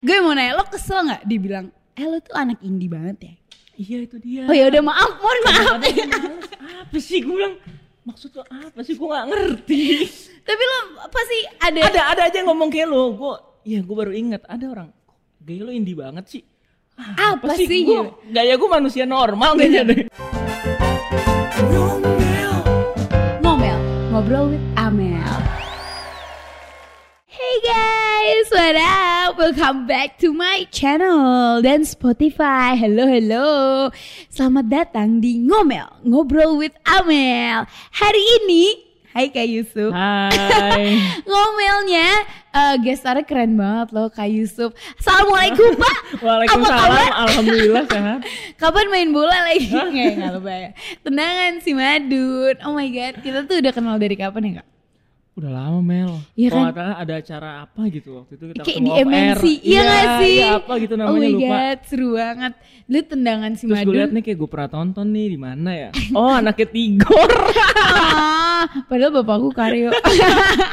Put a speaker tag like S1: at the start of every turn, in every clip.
S1: Gue mau nanya, lo kesel nggak dibilang, eh lo tuh anak indie banget ya?
S2: Iya itu dia.
S1: Oh ya udah maaf, mohon maaf.
S2: Kadang-kadang gua males. apa sih gue bilang? Maksud lo apa sih? Gue gak ngerti.
S1: Tapi lo pasti ada.
S2: ada ada aja yang ngomong kayak lo. Gue, ya gue baru inget ada orang. "Kok Gaya lo indie banget sih. Ah,
S1: Apa sih? Iya.
S2: Gua, gaya gue manusia normal kayaknya deh.
S1: Ngomel, ngobrol with Amel. Hey guys, what up? Welcome back to my channel dan Spotify. Hello, hello. Selamat datang di Ngomel, ngobrol with Amel. Hari ini, hai Kak Yusuf.
S2: Hai.
S1: Ngomelnya eh gestarnya keren banget loh Kak Yusuf. Assalamualaikum Pak.
S2: Waalaikumsalam.
S1: kabar?
S2: Alhamdulillah sehat.
S1: Kapan main bola lagi? Nggak, nggak lupa ya. Tendangan si Madun. Oh my god, kita tuh udah kenal dari kapan ya kak?
S2: Udah lama Mel.
S1: Iya kan?
S2: Kalau nggak salah ada acara apa gitu waktu itu kita
S1: Kayak
S2: ketemu
S1: di
S2: off air.
S1: MNC, iya nggak sih?
S2: Iya apa gitu
S1: oh
S2: namanya
S1: my
S2: lupa.
S1: god, seru banget. Lu tendangan si
S2: Terus gue
S1: Madun.
S2: liat nih kayak gue pernah tonton nih di mana ya. Oh anaknya Tigor.
S1: Ah, padahal bapakku karyo.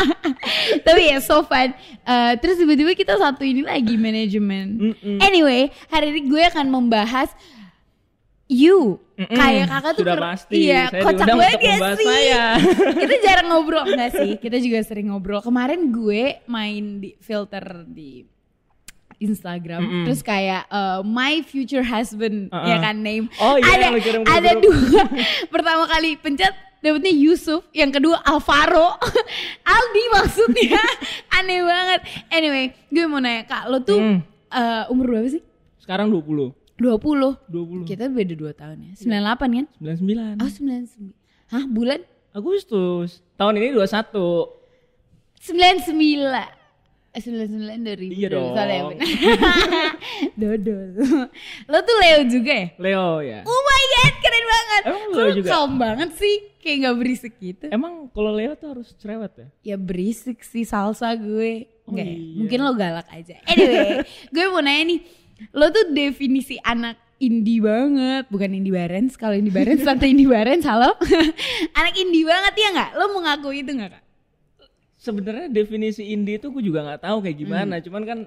S1: Tapi ya so fun. Eh, terus tiba-tiba kita satu ini lagi manajemen.
S2: Mm-mm.
S1: Anyway, hari ini gue akan membahas you.
S2: Mm-mm,
S1: Kayak kakak tuh
S2: sudah
S1: ker-
S2: pasti.
S1: Iya,
S2: Saya
S1: kocak
S2: diundang
S1: banget
S2: untuk
S1: gak
S2: membahas
S1: sih?
S2: saya.
S1: kita jarang ngobrol enggak sih? Kita juga sering ngobrol. Kemarin gue main di filter di Instagram
S2: Mm-mm.
S1: terus kayak eh, my future husband
S2: Uh-uh.
S1: ya kan name
S2: Oh, iya,
S1: ada
S2: yang lu kirim ke
S1: ada
S2: grup.
S1: dua pertama kali pencet dapetnya Yusuf yang kedua Alvaro Aldi maksudnya aneh banget anyway gue mau nanya kak lo tuh
S2: Mm.
S1: eh, umur berapa sih
S2: Sekarang 20.
S1: 20
S2: 20.
S1: kita beda 2 tahun
S2: Iya.
S1: ya 98 kan
S2: 99.
S1: oh 99 hah bulan
S2: Agustus. Tahun ini 21.
S1: 99 Eh, 99 dari
S2: Iya dong.
S1: Soalnya bener. Dodol. Lo tuh Leo juga ya?
S2: Leo ya.
S1: Oh my god, keren banget.
S2: Emang
S1: Kok
S2: Leo
S1: lo
S2: juga?
S1: calm banget sih, kayak nggak berisik gitu.
S2: Emang kalau Leo tuh harus cerewet ya?
S1: Ya berisik sih salsa gue.
S2: Oh
S1: Enggak ya?
S2: iya.
S1: Mungkin lo galak aja. Anyway, gue mau nanya nih. Lo tuh definisi anak indie banget. Bukan indie barens. Kalau indie barens, tante indie barens. Halo? anak indie banget ya nggak? Lo mengakui itu nggak kak?
S2: Sebenarnya definisi indie itu gue juga nggak tahu kayak
S1: Hmm.
S2: gimana. Cuman kan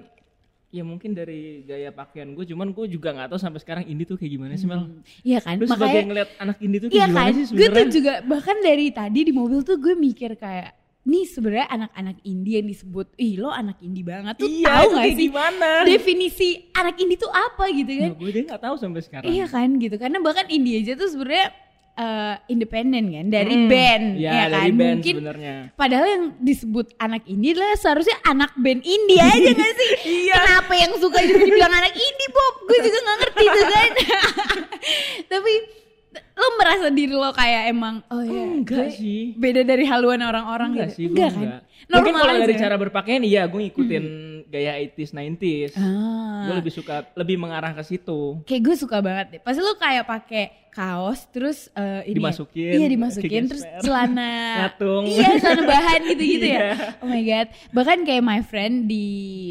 S2: ya mungkin dari gaya pakaian gue cuman gue juga nggak tahu sampai sekarang indie tuh kayak gimana sih Mel.
S1: Iya kan?
S2: Lu sebagai ngeliat anak indie tuh kayak
S1: Iya
S2: gimana
S1: kan,
S2: sih
S1: gue tuh
S2: sebenarnya?
S1: juga bahkan dari tadi di mobil tuh gue mikir kayak nih sebenarnya anak-anak indie yang disebut ih lo anak indie banget tuh
S2: Iya,
S1: tahu
S2: itu
S1: gak
S2: kayak
S1: sih
S2: gimana?
S1: definisi anak indie tuh apa gitu kan?
S2: Nah, gue deh nggak tahu sampai sekarang.
S1: Iya kan gitu karena bahkan indie aja tuh sebenarnya eh, independen kan dari band
S2: Iya,
S1: ya, kan
S2: dari band
S1: mungkin
S2: sebenarnya.
S1: Padahal yang disebut anak indie lah seharusnya anak band indie aja gak sih?
S2: Iya.
S1: Kenapa yang suka juga dibilang anak indie Bob? Gue juga gak ngerti tuh kan. Tapi t- lo merasa diri lo kayak emang oh ya
S2: iya. Enggak
S1: gue
S2: sih.
S1: beda dari haluan orang-orang
S2: Enggak
S1: gitu.
S2: sih, gue
S1: enggak
S2: enggak.
S1: kan?
S2: Mungkin
S1: Normal
S2: kalau dari
S1: aja. Hmm.
S2: cara berpakaian iya gue ngikutin gaya 80s 90s.
S1: Ah.
S2: Gue lebih suka lebih mengarah ke situ.
S1: Kayak gue suka banget deh. Pasti lo kayak pakai kaos terus eh, ini ya.
S2: Dimasukin,
S1: Iya, dimasukin terus
S2: kegesper.
S1: celana.
S2: Ngatung.
S1: Iya, celana bahan gitu-gitu
S2: Iya.
S1: ya. Oh my god. Bahkan kayak my friend di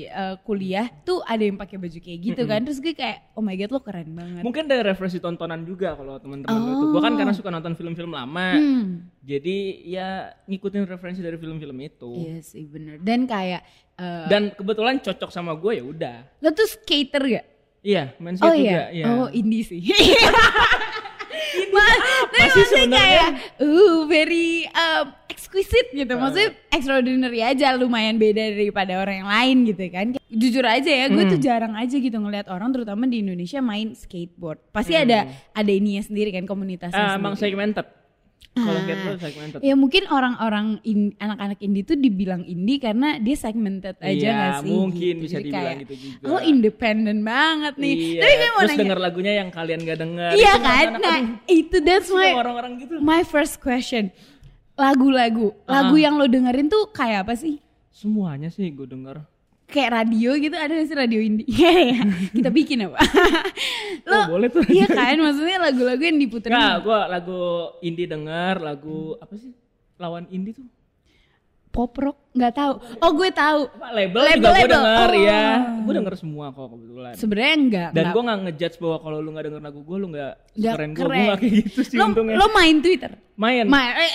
S1: eh, kuliah tuh ada yang pakai baju kayak gitu kan. Terus gue kayak oh my god lo keren banget.
S2: Mungkin dari referensi tontonan juga kalau teman-teman itu. Gue kan karena suka nonton film-film lama,
S1: Oh. Hmm.
S2: jadi ya ngikutin referensi dari film-film itu.
S1: Iya sih bener. Dan kayak eh,
S2: Dan kebetulan cocok sama gue ya udah.
S1: lo tuh skater gak?
S2: Iya, main skate
S1: Oh iya.
S2: juga. Iya.
S1: Oh indie sih. Mas, tapi
S2: sih
S1: maksudnya
S2: sebenarnya?
S1: kayak uh very um, exquisite gitu. Maksudnya extraordinary aja lumayan beda daripada orang yang lain gitu kan. Jujur aja ya, gue tuh jarang aja gitu ngelihat orang terutama di Indonesia main skateboard. Pasti ada ada ininya sendiri kan komunitasnya
S2: Ah,
S1: sendiri.
S2: emang segmented. Kalau
S1: Ah.
S2: skate lo segmented.
S1: Ya mungkin orang-orang in- anak-anak indie tuh dibilang indie karena dia segmented aja
S2: Iya,
S1: gak sih?
S2: mungkin bisa dibilang gitu juga.
S1: Oh independen banget nih.
S2: Iya.
S1: Tapi gue mau
S2: Terus
S1: nanya.
S2: denger lagunya yang kalian gak denger.
S1: Iya
S2: Itu
S1: kan?
S2: anak-anak
S1: Nah, itu that's
S2: tuh
S1: my
S2: orang-orang gitu.
S1: my first question. Lagu-lagu, lagu
S2: Ah.
S1: yang lo dengerin tuh kayak apa sih?
S2: Semuanya sih gue denger.
S1: Kayak radio gitu, ada gak sih radio indie? Iya, iya. Kita bikin apa? lo,
S2: Oh, boleh tuh.
S1: Iya kan, maksudnya lagu-lagu yang diputerin.
S2: Enggak, gue lagu indie denger, lagu apa sih? Lawan indie tuh.
S1: Pop rock, gak tahu. Oh gue tahu.
S2: Apa, Label,
S1: Label,
S2: juga gue
S1: label.
S2: denger,
S1: Oh.
S2: ya. Gue denger semua kok kebetulan.
S1: Sebenarnya enggak.
S2: Dan
S1: enggak-
S2: gue gak ngejudge bahwa kalau lu gak denger lagu gue, lu gak
S1: enggak
S2: keren gue. Gue gak kayak gitu sih
S1: lo,
S2: untungnya.
S1: lo main Twitter?
S2: Main.
S1: Main. eh,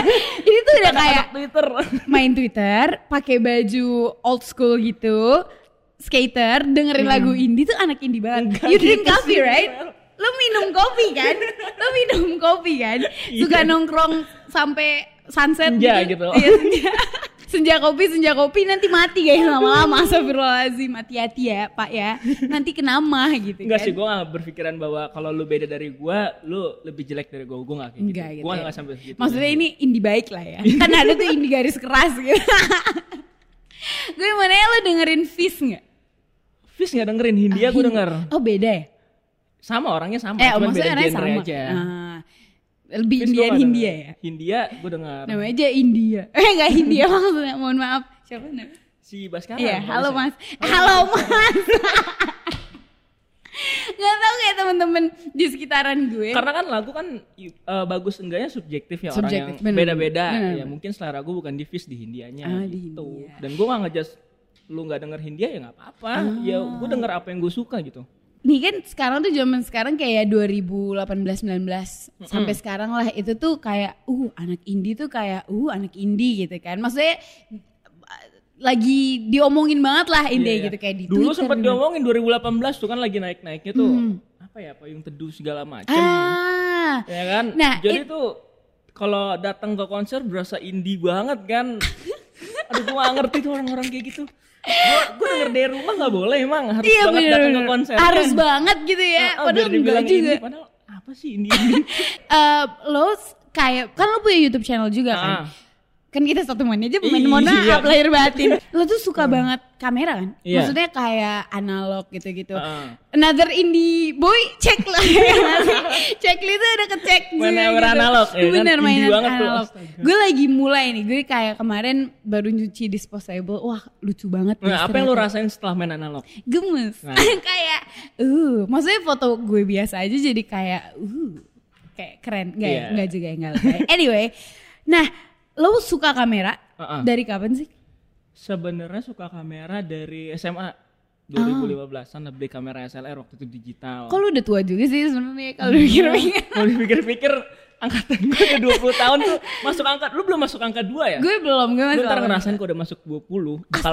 S1: Ini tuh udah ya kayak
S2: Twitter.
S1: main Twitter, pakai baju old school gitu, skater dengerin lagu indie tuh anak indie banget.
S2: Hmm. Enggak
S1: you drink
S2: gitu
S1: coffee
S2: sih,
S1: right?
S2: Mel.
S1: Lo minum kopi kan? Lo minum kopi kan? Suka nongkrong sampai sunset
S2: Iya. Senja gitu.
S1: Iya, senja. senja kopi, senja kopi nanti mati guys lama-lama astagfirullahaladzim hati-hati ya pak ya nanti kena mah gitu
S2: Enggak
S1: kan
S2: sih, gue gak berpikiran bahwa kalau lu beda dari gue, lu lebih jelek dari gue. Gue gak kayak gitu.
S1: Enggak gitu
S2: Gue
S1: ya.
S2: gak sampai segitu.
S1: Maksudnya ini indie baik lah ya. kan ada tuh indie garis keras gitu. gue mana ya lo dengerin Fizz nggak?
S2: Fis gak dengerin Hindia, gue denger.
S1: Oh beda ya?
S2: Sama orangnya sama,
S1: eh
S2: cuman
S1: maksudnya
S2: beda
S1: orangnya
S2: genre
S1: sama.
S2: aja.
S1: Ah, lebih
S2: Fis gua
S1: Indian
S2: nggak
S1: Hindia
S2: denger.
S1: ya. Nah,
S2: Hindia, gue denger.
S1: Namanya aja India. Eh nggak Hindia maksudnya. Mohon maaf. Siapa namanya?
S2: Si Baskara.
S1: Iya,
S2: bagus
S1: halo
S2: ya.
S1: mas. Halo mas. Gak tau kayak temen-temen di sekitaran gue.
S2: Karena kan lagu kan i- eh, bagus enggaknya subjektif ya
S1: Subjektif,
S2: orang yang
S1: bener,
S2: beda-beda.
S1: bener, bener.
S2: Ya mungkin selera gue bukan di Fis di Hindianya
S1: Ah, di
S2: gitu.
S1: Hindia.
S2: Dan gue gak ngejas lu nggak denger Hindia ya nggak apa-apa.
S1: Ah.
S2: Ya gue denger apa yang gue suka gitu.
S1: Nih kan sekarang tuh zaman sekarang kayak 2018-19 sampai sekarang lah itu tuh kayak uh anak indie tuh kayak uh anak indie gitu kan. Maksudnya uh, lagi diomongin banget lah
S2: Iya,
S1: indie
S2: iya.
S1: gitu kayak di
S2: Dulu
S1: Twitter
S2: sempat
S1: dan-
S2: diomongin 2018 tuh kan lagi naik-naiknya tuh. Apa ya payung teduh segala macam.
S1: Ah.
S2: Ya kan?
S1: Nah,
S2: Jadi tuh kalau datang ke konser berasa indie banget kan. Aduh gue gak ngerti tuh orang-orang kayak gitu. Gue denger dari rumah gak boleh emang harus
S1: Iya
S2: banget
S1: bener,
S2: datang ke
S1: bener.
S2: konser.
S1: Harus
S2: kan?
S1: banget gitu ya.
S2: Ah, ah,
S1: Padahal
S2: biar
S1: enggak
S2: dibilang
S1: juga.
S2: indie, padahal apa sih indie? indie?
S1: Eh, lo s- kayak kan lo punya YouTube channel juga kan?
S2: Ah.
S1: Kan kita satu manajer pemain
S2: Iya. Ah.
S1: mohon maaf lahir batin. Lo tuh suka banget kamera kan?
S2: Iya.
S1: Maksudnya kayak analog gitu-gitu.
S2: Ah.
S1: Another indie boy cek lah ya nggak sih? Cek itu ada kecek Gitu.
S2: Main kamera analog, ya kan?
S1: Bener
S2: Indie
S1: mainan
S2: banget tuh,
S1: analog.
S2: astaga.
S1: Gue lagi mulai nih. Gue kayak kemarin baru nyuci disposable. Wah lucu banget.
S2: Nah, apa yang lo
S1: ternyata
S2: rasain setelah main analog?
S1: gemes
S2: Nah.
S1: kayak uh maksudnya foto gue biasa aja jadi kayak uh kayak keren nggak
S2: Iya.
S1: ya nggak juga ya, nggak lah ya. anyway nah lo suka kamera
S2: Uh-uh.
S1: dari kapan sih
S2: Sebenarnya suka kamera dari
S1: Ah.
S2: SMA 2015an lah beli kamera SLR waktu itu digital.
S1: kok lo udah tua juga sih sebenarnya kalau
S2: Iya.
S1: dipikir-pikir
S2: Kalau dipikir-pikir angkatan gue udah 20 tahun tuh masuk angkat lu belum masuk angka 2 ya?
S1: gue belum gue
S2: Lu
S1: masih
S2: ntar
S1: lama.
S2: ngerasain kalau udah masuk 20 Bakal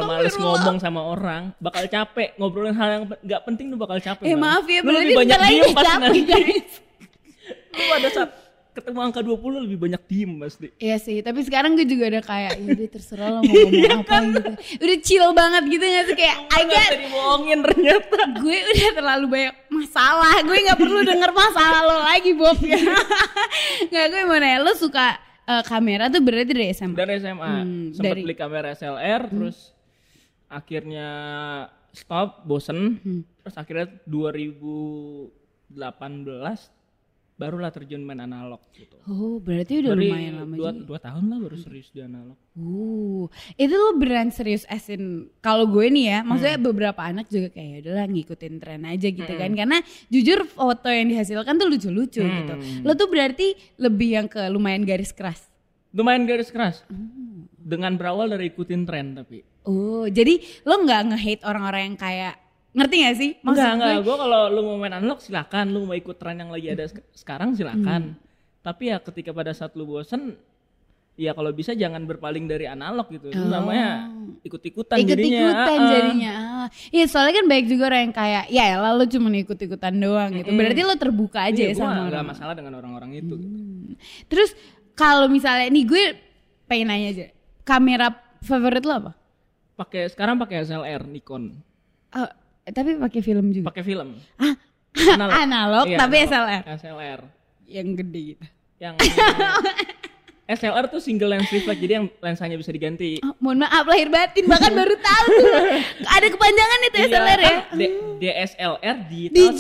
S2: males
S1: Astagfirullah.
S2: ngomong sama orang Bakal capek Ngobrolin hal yang pe- nggak penting lu bakal capek
S1: eh
S2: Bang.
S1: maaf ya
S2: Lu
S1: berarti
S2: lebih banyak
S1: bentar lagi capek,
S2: diem pasti nanti
S1: guys
S2: Lu pada saat ketemu angka 20 lebih banyak diem pasti
S1: Iya sih, tapi sekarang gue juga udah kayak ya udah terserah lo mau ngomong apa gitu. Udah chill banget gitu gak sih kayak I got
S2: Tadi bohongin ternyata
S1: gue udah terlalu banyak masalah gue nggak perlu denger masalah lo lagi Bob nggak gue mau nanya lo suka eh, kamera tuh berarti dari SMA
S2: Dari SMA
S1: Hmm,
S2: Sempet
S1: dari- Hmm.
S2: beli kamera SLR Terus akhirnya stop bosen
S1: Hmm.
S2: Terus akhirnya 2018 Barulah terjun main analog gitu
S1: oh berarti udah
S2: Dari
S1: lumayan lama
S2: dua,
S1: juga
S2: dua tahun lah baru serius di analog
S1: uh itu lo beran serius asin kalau gue nih ya maksudnya
S2: Hmm.
S1: beberapa anak juga kayak adalah ngikutin tren aja gitu kan karena jujur foto yang dihasilkan tuh lucu-lucu
S2: Hmm.
S1: gitu lo tuh berarti lebih yang ke lumayan garis keras
S2: lumayan garis keras dengan berawal dari ikutin tren tapi
S1: oh jadi lo nggak nge-hate orang-orang yang kayak ngerti gak sih Maksud
S2: enggak
S1: gue-
S2: enggak gue kalau lu mau main analog silakan lu mau ikut tren yang lagi ada sek- sekarang
S1: Hmm.
S2: silakan tapi ya ketika pada saat lu bosen ya kalau bisa jangan berpaling dari analog gitu Itu namanya ikut-ikutan
S1: Oh.
S2: jadinya
S1: ikut-ikutan
S2: Ah, ah.
S1: jadinya. Ah. Iya, soalnya kan baik juga orang yang kayak ya elah lu cuma ikut-ikutan doang gitu. Berarti lo terbuka aja
S2: Iya,
S1: ya
S2: gua
S1: sama
S2: nggak
S1: orang. Hmm.
S2: masalah dengan orang-orang itu
S1: Terus kalau misalnya nih gue pengen nanya aja. Kamera favorit lo apa?
S2: pakai sekarang pakai SLR Nikon
S1: Oh, tapi pakai film juga.
S2: pakai film
S1: Ah, analog,
S2: Analog.
S1: Oh,
S2: Iya,
S1: tapi
S2: analog.
S1: SLR
S2: SLR
S1: yang gede gitu.
S2: yang SLR tuh single lens reflex jadi yang lensanya bisa diganti
S1: Oh, mohon maaf lahir batin bahkan baru tahu tuh. Ada kepanjangan itu
S2: Iya,
S1: SLR ya.
S2: kan D- DSLR digital,
S1: Digital.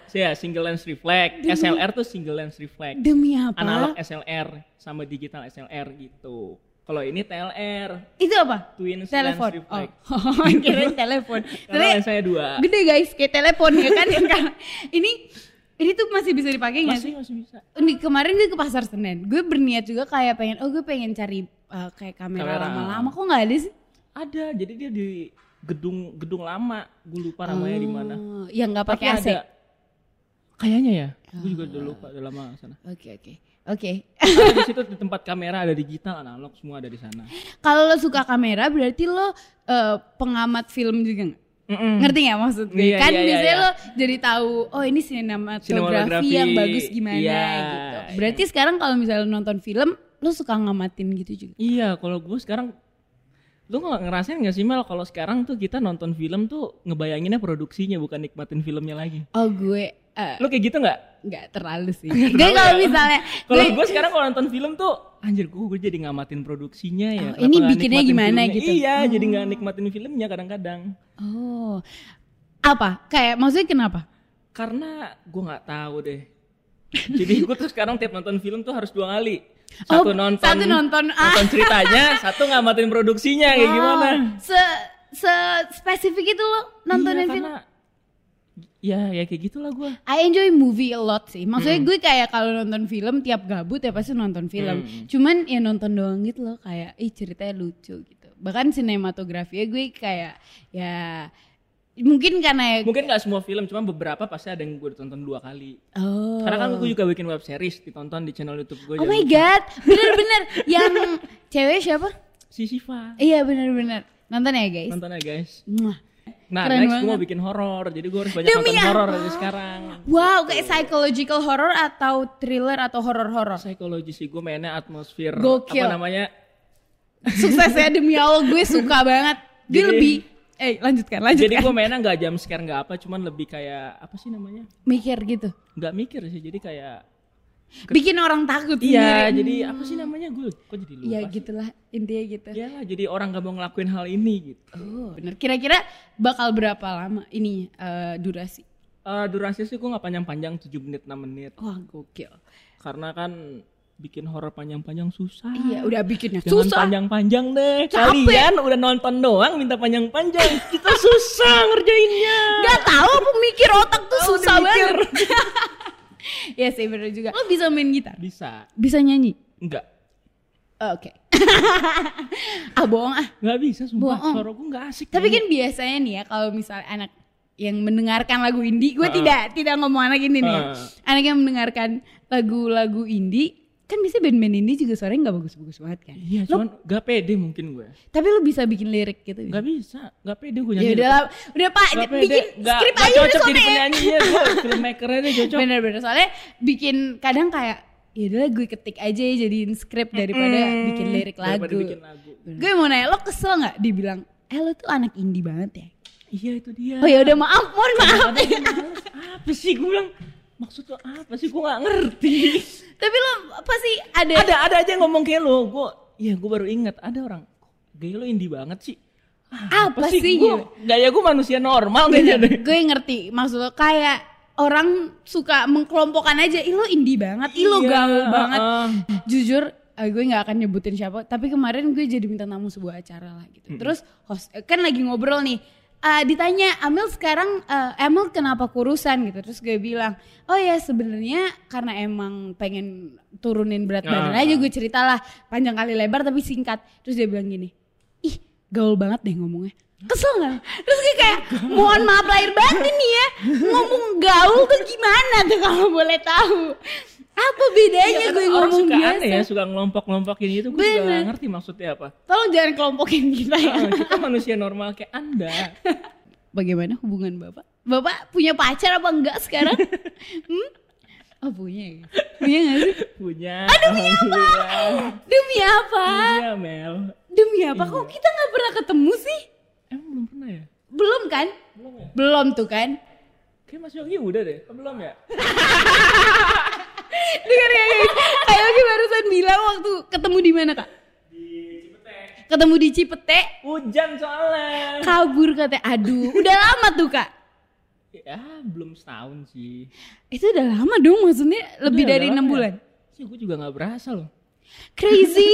S2: single ya single lens reflect. SLR tuh single lens reflect.
S1: Demi apa?
S2: Analog SLR sama digital SLR gitu. Kalau ini TLR,
S1: Itu apa?
S2: twin
S1: telepon.
S2: lens
S1: Oh,
S2: reflect.
S1: kirain telepon.
S2: Karena
S1: Tapi
S2: lensanya dua.
S1: gede guys kayak telepon ya kan ini ini tuh masih bisa dipakai nggak sih
S2: Masih masih bisa.
S1: Ini kemarin gue ke pasar senen gue berniat juga kayak pengen oh gue pengen cari uh, kayak kamera
S2: Kamera.
S1: lama-lama kok nggak ada sih
S2: Ada, jadi dia di gedung gedung lama. Gue lupa namanya di mana.
S1: Oh, yang nggak
S2: Tapi
S1: pakai Ah. AC
S2: ada. Kayaknya ya. Gue juga udah lupa udah lama ke sana.
S1: oke oke oke
S2: Ada di situ di tempat kamera ada digital, analog semua ada di sana.
S1: kalau lo suka kamera berarti lo uh, eh, pengamat film juga nggak
S2: Mm, Mm-mm.
S1: Ngerti gak maksud gue?
S2: Iya,
S1: kan
S2: iya, iya,
S1: biasanya
S2: iya.
S1: lo jadi tahu, oh ini sinematografi
S2: Sinematografi,
S1: yang bagus gimana
S2: iya,
S1: gitu. Berarti sekarang kalau misalnya lo nonton film, lo suka ngamatin gitu juga.
S2: Iya, kalau gue sekarang lu nggak ngerasain nggak sih Mel kalau sekarang tuh kita nonton film tuh ngebayanginnya produksinya bukan nikmatin filmnya lagi.
S1: Oh gue eh,
S2: Lu kayak gitu nggak?
S1: nggak terlalu sih. gue kalau misalnya
S2: Kalau
S1: gue-
S2: gue sekarang kalau nonton film tuh anjir gue, gue jadi ngamatin produksinya ya.
S1: Oh,
S2: Kenapa
S1: ini
S2: nggak
S1: bikinnya
S2: nikmatin
S1: gimana
S2: filmnya?
S1: gitu?
S2: Iya, jadi nggak nikmatin filmnya kadang-kadang.
S1: oh apa? Kayak maksudnya kenapa?
S2: Karena gue nggak tahu deh. jadi gue tuh sekarang tiap nonton film tuh harus dua kali.
S1: Oh,
S2: Satu nonton,
S1: satu nonton, ah.
S2: nonton ceritanya, satu ngamatin produksinya kayak gimana?
S1: Oh, se se spesifik itu lo nontonin
S2: Iya,
S1: film?
S2: karena- Ya, ya kayak gitulah gue.
S1: I enjoy movie a lot sih. Maksudnya gue kayak kalau nonton film tiap gabut ya pasti nonton film. Cuman ya nonton doang gitu loh kayak ih ceritanya lucu gitu. Bahkan sinematografinya gue kayak ya mungkin karena ya
S2: Mungkin nggak semua film, cuma beberapa pasti ada yang gue tonton dua kali.
S1: Oh.
S2: Karena kan gue juga bikin web series ditonton di channel YouTube gue.
S1: Oh my god, bener-bener yang cewek siapa?
S2: Si Siva.
S1: Iya bener-bener nonton ya guys.
S2: Nonton aja guys.
S1: Mwah.
S2: Nah,
S1: Keren
S2: next gue
S1: banget.
S2: mau bikin horor, jadi gue harus banyak
S1: Demi
S2: nonton horor
S1: apa?
S2: dari sekarang.
S1: Wow, kayak psychological horror atau thriller atau horor-horor.
S2: Psikologi sih gue mainnya atmosfer
S1: Gokil.
S2: apa namanya?
S1: Suksesnya ya, demi Allah gue suka banget. Gue
S2: Jadi-
S1: lebih Eh, lanjutkan, lanjutkan.
S2: Jadi gue mainnya nggak jam scare nggak apa, cuman lebih kayak apa sih namanya?
S1: mikir gitu.
S2: Nggak mikir sih, jadi kayak
S1: Bikin orang takut sendiri.
S2: iya, jadi apa sih namanya gue? Kok jadi lupa?
S1: Iya
S2: sih? Iya.
S1: gitulah intinya gitu.
S2: Iyalah, jadi orang gak mau ngelakuin hal ini gitu.
S1: Oh, bener. Kira-kira bakal berapa lama ini eh, durasi?
S2: Eh, durasi sih gue nggak panjang-panjang 7 menit 6 menit
S1: Wah, gokil.
S2: karena kan bikin horor panjang-panjang susah.
S1: Iya, udah bikinnya
S2: Jangan
S1: susah.
S2: panjang-panjang deh.
S1: Capek.
S2: Kalian udah nonton doang minta panjang-panjang. Kita susah ngerjainnya.
S1: Gak tahu pemikir otak tuh
S2: Tahu
S1: susah
S2: dimikir.
S1: banget. Iya sih bener juga. Lo bisa main gitar?
S2: Bisa.
S1: Bisa nyanyi? Oh,
S2: Enggak.
S1: Oke. ah bohong ah.
S2: Enggak bisa sumpah.
S1: Bohong.
S2: Suara gue enggak asik.
S1: Tapi
S2: kayaknya.
S1: kan biasanya nih ya kalau misalnya anak yang mendengarkan lagu indie, gue
S2: Heeh.
S1: tidak tidak ngomong anak ini nih. ya.
S2: Heeh.
S1: Anak yang mendengarkan lagu-lagu indie, kan biasanya band-band indie juga suaranya nggak bagus-bagus banget kan.
S2: Iya,
S1: Lo-
S2: cuman enggak pede mungkin gue.
S1: tapi lu bisa bikin lirik gitu.
S2: Enggak bisa. Enggak pede gue
S1: ya
S2: nyanyi.
S1: udah lah, udah Pak,
S2: Nggak pede.
S1: bikin
S2: Nggak-
S1: skrip
S2: nggak
S1: aja udah
S2: cocok jadi
S1: sono ya.
S2: penyanyinya. Gue filmmakernya deh cocok.
S1: Bener-bener soalnya bikin kadang kayak ya udahlah gue ketik aja jadiin skrip daripada
S2: Mm,
S1: bikin lirik lagu.
S2: Daripada bikin lagu.
S1: Gue mau nanya lo kesel nggak dibilang eh lo tuh anak indie banget ya?
S2: Iya itu dia.
S1: Oh ya udah maaf, mohon maaf.
S2: Kadang-kadang gue males. apa sih gue bilang? Maksud lo apa sih? Gue gak ngerti.
S1: Tapi lo pasti ada.
S2: ada ada aja yang ngomong kayak lo gue ya gue baru ingat ada orang gaya lo indie banget sih "Ah,
S1: Apa sih, Iya.
S2: Gua- gaya gue manusia normal kayaknya deh
S1: Gue ngerti maksud lo kayak orang suka mengkelompokkan aja, ih lo indie banget, ih lo
S2: Iya,
S1: gaul banget.
S2: heeh.
S1: Jujur eh, gue nggak akan nyebutin siapa, tapi kemarin gue jadi bintang tamu sebuah acara lah gitu. Terus host eh, kan lagi ngobrol nih. eh, ditanya Amel sekarang eh, Amel kenapa kurusan gitu terus gue bilang oh ya sebenarnya karena emang pengen turunin berat badan
S2: Ah.
S1: aja gue ceritalah panjang kali lebar tapi singkat terus dia bilang gini ih gaul banget deh ngomongnya kesel gak? terus gue kayak mohon maaf lahir batin nih ya ngomong gaul tuh gimana tuh kalau boleh tahu apa bedanya Eh, iya, gue
S2: Kadang Iya, kan orang
S1: ngomong
S2: suka
S1: biasa
S2: aneh ya suka ngelompok-ngelompokin gitu gue juga
S1: Bener.
S2: gak ngerti maksudnya apa
S1: tolong jangan kelompokin kita ya
S2: Eh, kita manusia normal kayak anda
S1: bagaimana hubungan bapak bapak punya pacar apa enggak sekarang hmm? oh punya ya punya gak sih
S2: punya aduh
S1: iya,
S2: punya apa
S1: demi apa
S2: iya Mel
S1: demi apa kok kita nggak pernah ketemu sih
S2: emang belum pernah ya
S1: belum kan
S2: belum ya
S1: belum tuh kan
S2: kayak Mas Yogi udah deh Apa belum ya
S1: Dengar ya guys, Kak Yogi barusan bilang waktu ketemu di mana kak? Ketemu di Cipete,
S2: hujan soalnya
S1: kabur katanya. Aduh, udah lama tuh kak.
S2: ya belum setahun sih
S1: Itu udah lama dong, maksudnya lebih
S2: Udah,
S1: dari
S2: udah
S1: enam
S2: lama ya?
S1: bulan.
S2: sih gue juga nggak berasa loh
S1: Crazy,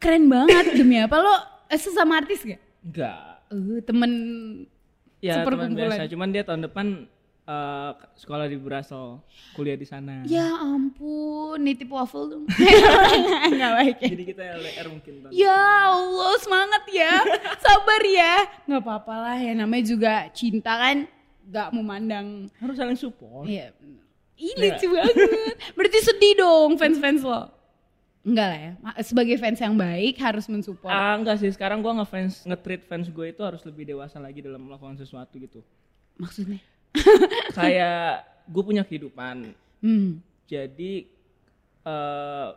S1: keren banget demi apa lo eh, sesama artis gak?
S2: enggak
S1: Eh, temen
S2: Ya teman
S1: Seperkumpulan.
S2: biasa, cuman dia tahun depan eh, sekolah di Brussels, kuliah di sana.
S1: Ya ampun, nitip waffle dong. Enggak baik ya.
S2: Jadi kita LDR mungkin tahun.
S1: Ya Allah semangat ya, sabar ya. Nggak apa-apa lah ya namanya juga cinta kan nggak memandang.
S2: Harus saling support.
S1: Iya. Ih lucu banget. Berarti sedih dong fans-fans lo. Enggak lah ya. Sebagai fans yang baik harus mensupport.
S2: Ah enggak sih, sekarang gua ngefans nge-treat fans gue itu harus lebih dewasa lagi dalam melakukan sesuatu gitu.
S1: Maksudnya?
S2: Kayak gue punya kehidupan.
S1: Hmm.
S2: Jadi eh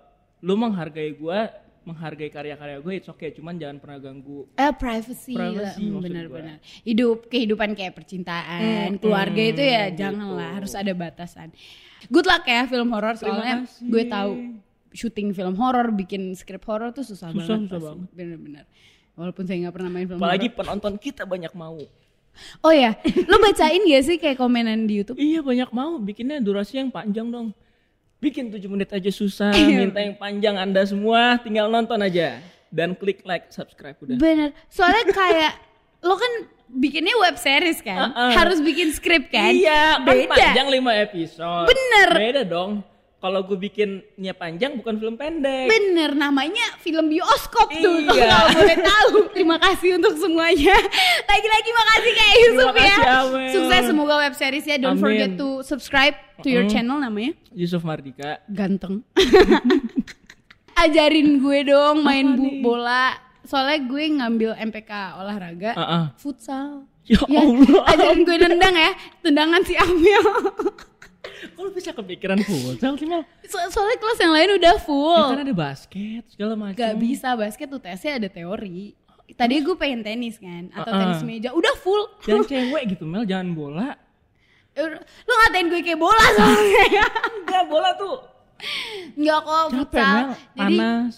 S2: lu menghargai gua, menghargai karya-karya gue itu oke, cuman jangan pernah ganggu.
S1: Eh privacy,
S2: Privacy
S1: lah.
S2: maksud
S1: Hmm,
S2: gua.
S1: benar-benar. Hidup kehidupan kayak percintaan,
S2: Hmm,
S1: keluarga
S2: hmm,
S1: itu ya
S2: gitu.
S1: janganlah harus ada batasan. Good luck ya film horor
S2: Terima
S1: soalnya
S2: kasih.
S1: gue tahu syuting film horor, bikin skrip horor tuh susah,
S2: Susah,
S1: banget.
S2: susah
S1: pasti.
S2: banget.
S1: Benar-benar. Walaupun saya nggak pernah main film
S2: Apalagi
S1: horor.
S2: penonton kita banyak mau.
S1: Oh ya, lo bacain gak sih kayak komenan di YouTube?
S2: Iya banyak mau, bikinnya durasi yang panjang dong. Bikin 7 menit aja susah,
S1: Iya.
S2: minta yang panjang Anda semua tinggal nonton aja dan klik like, subscribe udah.
S1: Bener. Soalnya kayak lo kan bikinnya web series kan,
S2: Uh-uh.
S1: harus bikin skrip kan?
S2: Iya, kan
S1: beda.
S2: panjang 5 episode.
S1: Bener.
S2: Beda dong. Kalau gue bikinnya panjang bukan film pendek.
S1: Bener, namanya film bioskop tuh. Kalau
S2: Eh. Iya.
S1: nggak boleh tahu. Terima kasih untuk semuanya. Lagi-lagi makasih kayak Yusuf ya.
S2: Terima kasih, Amel.
S1: Sukses semoga web seriesnya. Don't
S2: Amin.
S1: forget to subscribe to your channel namanya.
S2: Yusuf Mardika.
S1: Ganteng. Ajarin gue dong main
S2: Apa
S1: bu
S2: nih?
S1: bola. Soalnya gue ngambil MPK olahraga,
S2: Heeh.
S1: futsal.
S2: Ya Allah.
S1: Ajarin gue nendang ya, tendangan si Amel.
S2: Kok lu bisa kepikiran futsal sih Mel?
S1: So- soalnya kelas yang lain udah
S2: Ya
S1: full.
S2: kan ada basket segala macam.
S1: Gak Oh. bisa basket UTS-nya ada teori. Tadi gue pengen tenis kan atau
S2: Uh-uh.
S1: tenis meja, udah full.
S2: Jangan cewek gitu Mel, jangan bola.
S1: Lu ngatain gue kayak bola soalnya.
S2: Enggak, bola tuh
S1: Enggak kok
S2: capek
S1: futsal.
S2: Mel,
S1: Jadi
S2: panas.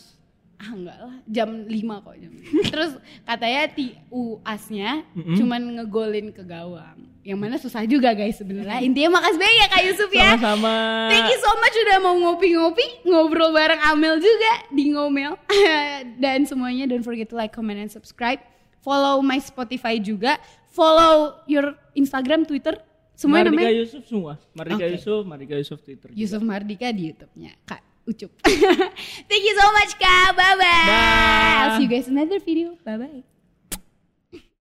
S1: ah enggak lah, jam 5 kok jam. Terus katanya TUAS-nya
S2: Mm-mm.
S1: cuman ngegolin ke gawang. Yang mana susah juga guys sebenarnya. Intinya makasih banyak ya Kak Yusuf ya.
S2: Sama-sama.
S1: Thank you so much udah mau ngopi-ngopi, ngobrol bareng Amel juga di Ngomel. Dan semuanya don't forget to like, comment, and subscribe. Follow my Spotify juga. Follow your Instagram, Twitter. Semuanya
S2: Mardika
S1: namanya
S2: Yusuf semua. Mardika
S1: Oke.
S2: Yusuf, Mardika Yusuf Twitter. juga.
S1: Yusuf Mardika di YouTube-nya Kak Ucup. Thank you so much Kak. Bye-bye.
S2: Bye.
S1: I'll see you guys in another video. Bye-bye.